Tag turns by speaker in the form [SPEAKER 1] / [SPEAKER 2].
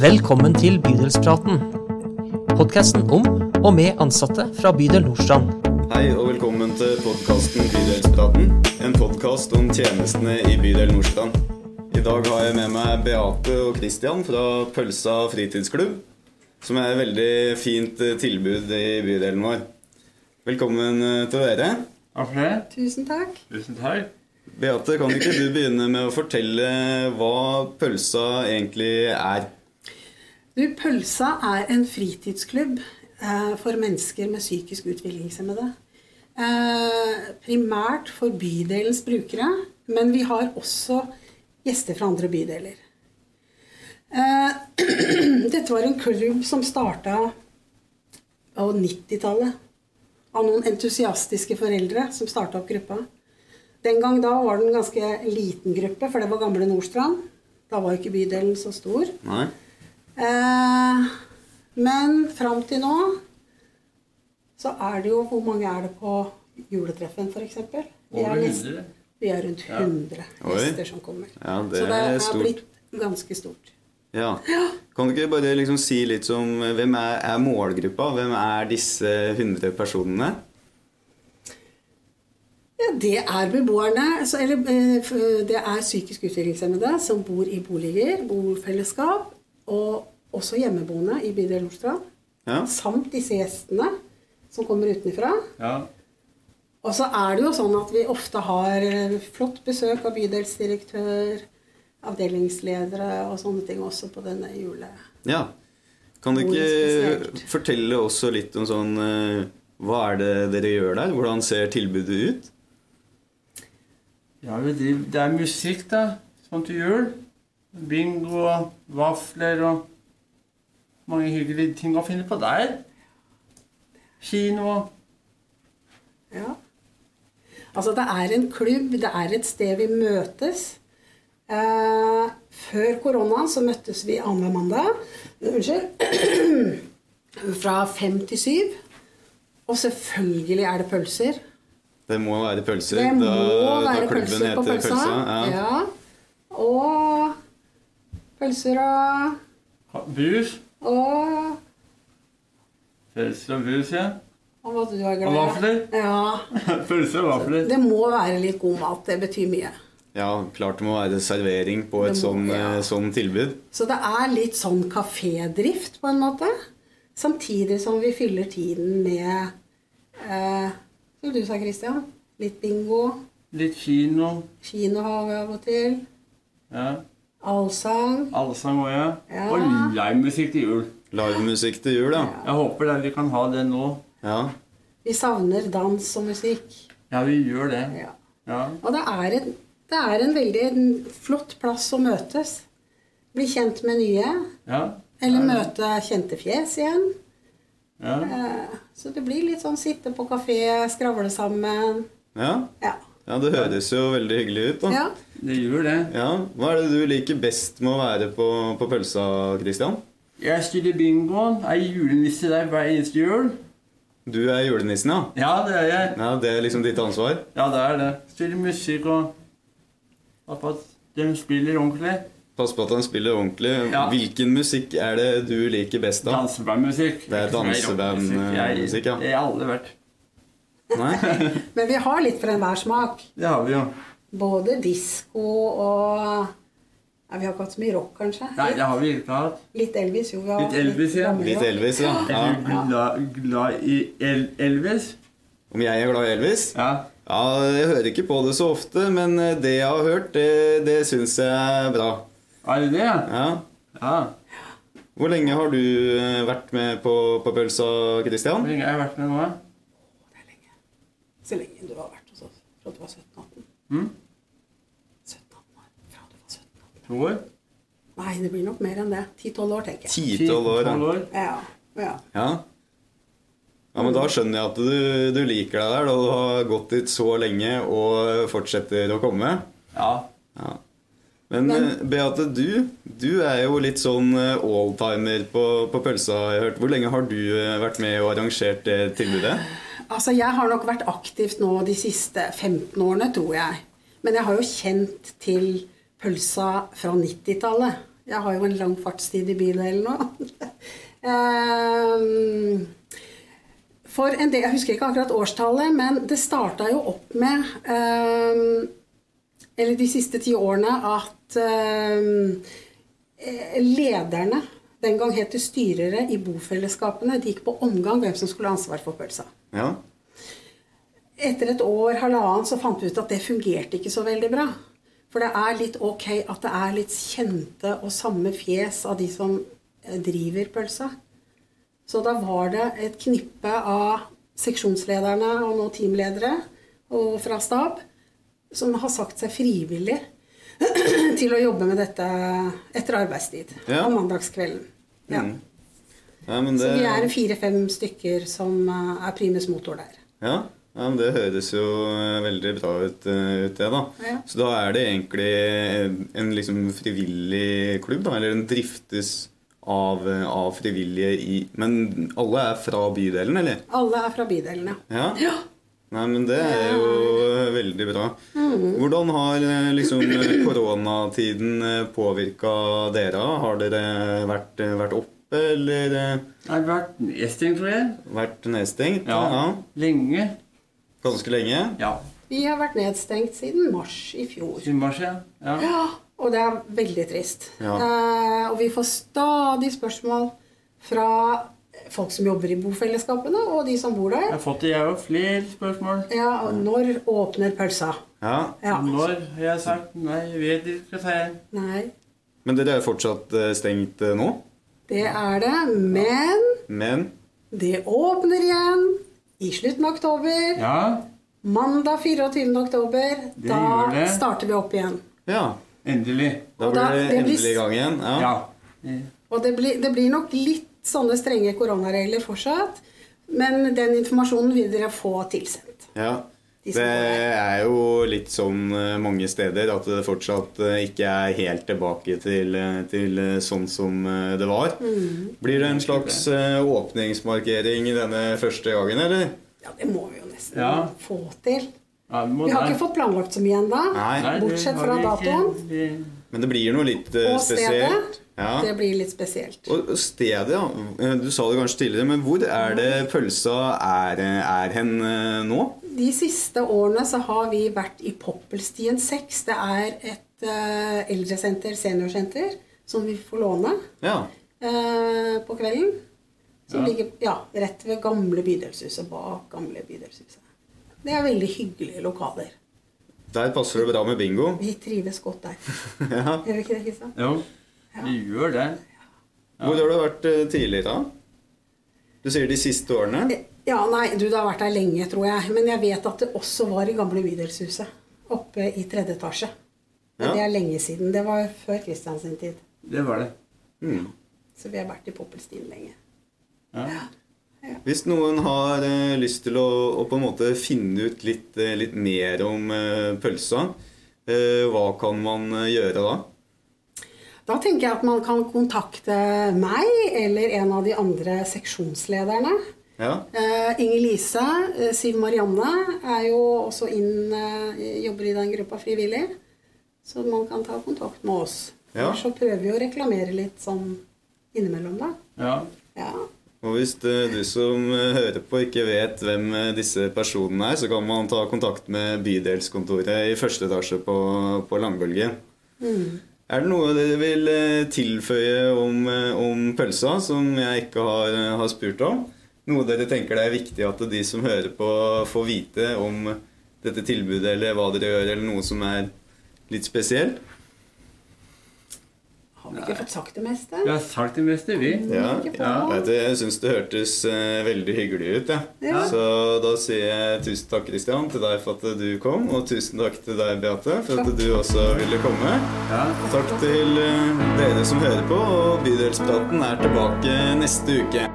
[SPEAKER 1] Velkommen til Bydelspraten. Podkasten om og med ansatte fra bydel Nordstrand.
[SPEAKER 2] Hei og velkommen til podkasten Bydelspraten. En podkast om tjenestene i bydel Nordstrand. I dag har jeg med meg Beate og Christian fra Pølsa fritidsklubb, som er et veldig fint eh, tilbud i bydelen vår. Velkommen eh, til dere.
[SPEAKER 3] Takk for det.
[SPEAKER 4] Tusen takk.
[SPEAKER 3] Tusen takk.
[SPEAKER 2] Beate, kan ikke du begynne med å fortelle hva pølsa egentlig er?
[SPEAKER 4] Du, Pølsa er en fritidsklubb eh, for mennesker med psykisk utviklingshemmede. Eh, primært for bydelens brukere, men vi har også gjester fra andre bydeler. Eh, dette var en klubb som starta på 90-tallet. Av noen entusiastiske foreldre som starta opp gruppa. Den gang da var den en ganske liten gruppe, for det var gamle Nordstrand. Da var ikke bydelen så stor.
[SPEAKER 2] Nei?
[SPEAKER 4] Eh, men fram til nå så er det jo Hvor mange er det på juletreffen, f.eks.?
[SPEAKER 3] Over 100.
[SPEAKER 4] Vi er rundt 100
[SPEAKER 2] Oi.
[SPEAKER 4] gjester som kommer.
[SPEAKER 2] Ja, det
[SPEAKER 4] så det
[SPEAKER 2] er
[SPEAKER 4] er
[SPEAKER 2] stort.
[SPEAKER 4] blitt ganske stort.
[SPEAKER 2] Ja. Kan du ikke bare liksom si litt om hvem er, er målgruppa? Hvem er disse 100 personene?
[SPEAKER 4] Ja, det er beboerne, så, eller eh, f- det er psykisk utviklingshemmede som bor i boliger, bofellesskap, og også hjemmeboende i bydel Nordstrand.
[SPEAKER 2] Ja.
[SPEAKER 4] Samt disse gjestene som kommer utenfra.
[SPEAKER 3] Ja.
[SPEAKER 4] Og så er det jo sånn at vi ofte har eh, flott besøk av bydelsdirektør, avdelingsledere og sånne ting også på denne jule...
[SPEAKER 2] Ja. Kan du
[SPEAKER 4] Hvor
[SPEAKER 2] ikke
[SPEAKER 4] spesielt?
[SPEAKER 2] fortelle også litt om sånn eh, Hva er det dere gjør der? Hvordan ser tilbudet ut?
[SPEAKER 3] ja vi driver, det er musikk, da. Sånn til jul. Bingo og vafler og mange hyggelige ting å finne på der. Kino.
[SPEAKER 4] Ja. Altså, det er en klubb, det er et sted vi møtes. Eh, før koronaen så møttes vi annenhver mandag. Unnskyld. Fra fem til syv. Og selvfølgelig er det pølser.
[SPEAKER 2] Det må være pølser.
[SPEAKER 4] Det må
[SPEAKER 2] da, da
[SPEAKER 4] være
[SPEAKER 2] klubben
[SPEAKER 4] pølser på
[SPEAKER 2] heter
[SPEAKER 4] pølsa.
[SPEAKER 2] Ja.
[SPEAKER 4] Ja. Og pølser og,
[SPEAKER 3] ha- Brus.
[SPEAKER 4] og
[SPEAKER 3] Pølser og brus, ja.
[SPEAKER 4] og hva du er glad i.
[SPEAKER 3] Og vafler.
[SPEAKER 4] Ja.
[SPEAKER 3] Pølser og vafler.
[SPEAKER 4] Det må være litt god mat. Det betyr mye.
[SPEAKER 2] ja, klart det må være servering på et
[SPEAKER 4] Det må-
[SPEAKER 2] sånn,
[SPEAKER 4] ja.
[SPEAKER 2] eh, sånn tilbud.
[SPEAKER 4] Så det er litt sånn kafédrift, på en måte. Samtidig som vi fyller tiden med eh, Som du sa, Christian. Litt bingo.
[SPEAKER 3] Litt kino.
[SPEAKER 4] Kino har vi av og til.
[SPEAKER 3] Ja.
[SPEAKER 4] Allsang.
[SPEAKER 3] Allsang òg, ja.
[SPEAKER 4] Ja.
[SPEAKER 3] Og livemusikk til jul.
[SPEAKER 2] Livemusikk til jul, da.
[SPEAKER 3] Jeg håper da vi kan ha det nå.
[SPEAKER 2] Ja.
[SPEAKER 4] Vi savner dans og musikk.
[SPEAKER 3] Ja, vi gjør det.
[SPEAKER 4] Ja.
[SPEAKER 3] Ja.
[SPEAKER 4] Og det er, et, det er en veldig flott plass å møtes. Bli kjent med nye,
[SPEAKER 3] Ja.
[SPEAKER 4] eller møte kjente fjes igjen.
[SPEAKER 3] ja.
[SPEAKER 4] Eh, Så det blir litt sånn sitte på kafé, skravle sammen.
[SPEAKER 2] Ja.
[SPEAKER 4] Ja.
[SPEAKER 2] ja, det høres jo veldig hyggelig ut, da.
[SPEAKER 4] ja.
[SPEAKER 3] Det gjør det.
[SPEAKER 2] Ja. Hva er det du liker best med å være på, på pølsa, Christian?
[SPEAKER 3] Jeg styrer bingoen. Er julenisse der hver eneste jul?
[SPEAKER 2] Du er julenissen, ja?
[SPEAKER 3] Ja, det er jeg.
[SPEAKER 2] Ja, Det er liksom ditt ansvar?
[SPEAKER 3] Ja, det er det. Styrer musikk og og at de spiller ordentlig.
[SPEAKER 2] Pass på at han spiller ordentlig.
[SPEAKER 3] Ja.
[SPEAKER 2] Hvilken musikk er det du liker best, da?
[SPEAKER 3] Dansebandmusikk.
[SPEAKER 2] Det er dansebandmusikk,
[SPEAKER 3] Jeg-
[SPEAKER 2] ja.
[SPEAKER 3] Jeg har alle vært.
[SPEAKER 2] Nei?
[SPEAKER 4] Men vi har litt for enhver smak.
[SPEAKER 3] Det har vi jo.
[SPEAKER 4] Både disko og ja, Vi har ikke hatt så mye rock, kanskje.
[SPEAKER 3] Nei, det har vi ikke hatt.
[SPEAKER 4] Litt Elvis, jo. Vi har
[SPEAKER 3] Litt Elvis, ja.
[SPEAKER 4] gammel
[SPEAKER 2] Litt
[SPEAKER 4] rock.
[SPEAKER 2] Elvis, ja. ja.
[SPEAKER 3] Er du glad, glad i El Elvis?
[SPEAKER 2] Om jeg er glad i Elvis?
[SPEAKER 3] Ja.
[SPEAKER 2] Ja, Jeg hører ikke på det så ofte, men eh, det jeg har hørt, det, det syns jeg er bra.
[SPEAKER 3] Er det det? ja?
[SPEAKER 2] Ja.
[SPEAKER 3] Ja.
[SPEAKER 2] Hvor lenge har du eh, vært med på, på pølsa,
[SPEAKER 3] Hvor
[SPEAKER 2] Christian?
[SPEAKER 3] lenge har jeg vært med nå? da?
[SPEAKER 4] Så lenge du har vært hos oss. Fra du var 17-18.
[SPEAKER 3] Hm?
[SPEAKER 4] 17-18 år. Fra du var 17-18.
[SPEAKER 3] To år?
[SPEAKER 4] Nei, det blir nok mer enn det. 10-12 år, tenker jeg.
[SPEAKER 2] Ti-tolv år.
[SPEAKER 3] Tolv
[SPEAKER 2] Ja.
[SPEAKER 3] år.
[SPEAKER 4] Ja. ja.
[SPEAKER 2] ja. Ja, men Da skjønner jeg at du, du liker deg der, da du har gått dit så lenge og fortsetter å komme.
[SPEAKER 3] Ja.
[SPEAKER 2] Ja. Men, eh, Beate, du, du er jo litt sånn eh, alltimer på, på pølsa, har jeg hørt. Hvor lenge har du eh, vært med og arrangert det tilbudet?
[SPEAKER 4] Altså, jeg har nok vært aktivt nå de siste 15 årene, tror jeg. Men jeg har jo kjent til pølsa fra 90-tallet. Jeg har jo en lang fartstid i bydelen nå. Ehm, For en del, Jeg husker ikke akkurat årstallet, men det starta jo opp med ehm, Eller de siste ti årene at ehm, eh, lederne Den gang het det styrere i bofellesskapene. De gikk på omgang hvem som skulle ha ansvar for pølsa.
[SPEAKER 2] Ja.
[SPEAKER 4] Etter et år, halvannen, så fant vi ut at det fungerte ikke så veldig bra. For det er litt ok at det er litt kjente og samme fjes av de som eh, driver pølsa. Så da var det et knippe av seksjonslederne og nå teamledere og fra stab som har sagt seg frivillig til å jobbe med dette etter arbeidstid
[SPEAKER 2] Ja.
[SPEAKER 4] om mandagskvelden. Ja.
[SPEAKER 2] Mm. ja men
[SPEAKER 4] Så
[SPEAKER 2] det,
[SPEAKER 4] vi er fire-fem stykker som eh, er primus motor der.
[SPEAKER 2] Ja, ja men det høres jo eh, veldig bra ut, eh, ut det, da.
[SPEAKER 4] Ja.
[SPEAKER 2] Så da er det egentlig eh, en liksom frivillig klubb, da? Eller den driftes av, eh, av frivillige i Men alle er fra bydelen, eller?
[SPEAKER 4] Alle er fra bydelen, ja.
[SPEAKER 2] Ja. Nei, men det er jo eh, veldig bra.
[SPEAKER 4] Mm.
[SPEAKER 2] Hvordan har eh, liksom eh, koronatiden påvirka dere? Har dere vært, eh, vært oppe, eller eh,
[SPEAKER 3] Jeg har vært nesting, tror jeg.
[SPEAKER 2] vært nedstengt?
[SPEAKER 3] Lenge.
[SPEAKER 2] Ganske lenge?
[SPEAKER 3] Ja.
[SPEAKER 4] Vi har vært nedstengt siden mars i fjor.
[SPEAKER 3] Siden mars, ja. ja.
[SPEAKER 4] Ja, og det er veldig trist.
[SPEAKER 2] Ja.
[SPEAKER 4] Eh, og vi får stadig spørsmål fra folk som jobber i bofellesskapene, og de som bor
[SPEAKER 3] Jeg
[SPEAKER 4] der.
[SPEAKER 3] har fått det, jeg òg. Flere spørsmål.
[SPEAKER 4] Ja, og når åpner pølsa?
[SPEAKER 2] Ja.
[SPEAKER 4] Ja.
[SPEAKER 3] Når har jeg sagt nei? Jeg vet ikke, sa jeg.
[SPEAKER 4] Nei,
[SPEAKER 2] Men dere er fortsatt eh, stengt eh, nå?
[SPEAKER 4] det er det. Men
[SPEAKER 2] Men
[SPEAKER 4] det åpner igjen i slutten av oktober.
[SPEAKER 3] Ja.
[SPEAKER 4] Mandag 24. oktober.
[SPEAKER 3] Det gjør
[SPEAKER 4] Da
[SPEAKER 3] det.
[SPEAKER 4] starter vi opp igjen.
[SPEAKER 2] ja,
[SPEAKER 3] Endelig.
[SPEAKER 2] da
[SPEAKER 4] Og
[SPEAKER 2] blir
[SPEAKER 4] da-
[SPEAKER 2] det
[SPEAKER 4] det blir
[SPEAKER 2] endelig i gang igjen. Ja.
[SPEAKER 3] Ja. Eh,
[SPEAKER 4] Og det blir, det blir nok litt sånne strenge koronaregler fortsatt. Men den informasjonen vil dere få tilsendt.
[SPEAKER 2] Ja.
[SPEAKER 4] De
[SPEAKER 2] Det
[SPEAKER 4] som går
[SPEAKER 2] er jo litt sånn eh, mange steder at det fortsatt eh, ikke er helt tilbake til, eh, til eh, sånn som eh, det var.
[SPEAKER 4] Mm.
[SPEAKER 2] Blir det en slags eh, åpningsmarkering denne første gangen, eller?
[SPEAKER 4] Ja, det må vi jo nesten
[SPEAKER 3] Ja.
[SPEAKER 4] få til.
[SPEAKER 3] Ja, må
[SPEAKER 4] Vi har
[SPEAKER 3] der.
[SPEAKER 4] ikke fått planlagt så mye ennå.
[SPEAKER 2] Nei.
[SPEAKER 3] Nei, det
[SPEAKER 4] Bortsett
[SPEAKER 3] har
[SPEAKER 4] fra
[SPEAKER 3] vi ikke.
[SPEAKER 4] datoen.
[SPEAKER 3] Vi-
[SPEAKER 2] Men det blir noe litt eh,
[SPEAKER 4] Og stedet.
[SPEAKER 2] spesielt. Ja.
[SPEAKER 4] Det blir litt spesielt.
[SPEAKER 2] Og stedet, ja. Eh, Du sa det kanskje tidligere, men hvor er det
[SPEAKER 4] Mm.
[SPEAKER 2] pølsa er, eh, er hen eh, nå?
[SPEAKER 4] De siste årene så har vi vært i Poppelstien 6. Det er et eh, eldresenter, seniorsenter, som vi får låne
[SPEAKER 2] Ja.
[SPEAKER 4] eh, på kvelden. Som
[SPEAKER 3] Ja.
[SPEAKER 4] ligger ja, rett ved gamle bydelshuset, bak gamle bydelshuset. Det er veldig hyggelige lokaler.
[SPEAKER 2] Der passer det bra med bingo.
[SPEAKER 4] Vi trives godt der.
[SPEAKER 2] Ja.
[SPEAKER 4] Gjør vi ikke det, Kristian?
[SPEAKER 3] Jo, vi gjør det.
[SPEAKER 2] Hvor har du vært eh, tidligere? da? Du sier de siste årene?
[SPEAKER 4] Ja, nei, du, det har vært der lenge, tror jeg. Men jeg vet at det også var i gamle bydelshuset. Oppe i tredje etasje. Men
[SPEAKER 2] Ja.
[SPEAKER 4] det er lenge siden. Det var før Kristian sin tid.
[SPEAKER 3] Det var det.
[SPEAKER 2] Mm.
[SPEAKER 4] Så vi har vært i Poppelstien lenge.
[SPEAKER 3] Ja.
[SPEAKER 2] Hvis noen har eh, lyst til å, å på en måte finne ut litt, eh, litt mer om eh, pølsa, eh, hva kan man eh, gjøre da?
[SPEAKER 4] Da tenker jeg at man kan kontakte meg eller en av de andre seksjonslederne.
[SPEAKER 2] Ja,
[SPEAKER 4] Eh, Inger Lise, eh, Siv Marianne er jo også inn, eh, jobber i den gruppa frivillig. Så man kan ta kontakt med oss.
[SPEAKER 2] Ja.
[SPEAKER 4] Ellers Så prøver vi å reklamere litt sånn innimellom, da.
[SPEAKER 3] ja.
[SPEAKER 4] Ja.
[SPEAKER 2] og Hvis eh, du som eh, hører på ikke vet hvem eh, disse personene er, så kan man ta kontakt med bydelskontoret i første etasje på, på Langbølgen. Er det noe dere vil eh, tilføye om, eh, om pølsa, som jeg ikke har, eh, har spurt om? Noe dere tenker det er viktig at de som hører på, får vite om dette tilbudet, eller hva dere gjør, eller noe som er litt spesielt?
[SPEAKER 4] Har vi ikke fått sagt det meste?
[SPEAKER 3] Vi har sagt det meste, vi.
[SPEAKER 2] Ja,
[SPEAKER 4] Ikke på.
[SPEAKER 2] ja. Vet du, jeg syns det hørtes eh, veldig hyggelig ut. Ja.
[SPEAKER 4] Ja.
[SPEAKER 2] Så da sier jeg tusen takk, Christian, til deg for at du kom, og tusen takk til deg, Beate, for at du også ville komme.
[SPEAKER 3] Ja.
[SPEAKER 2] Takk til eh, dere som hører på, og Bydelspraten er tilbake neste uke.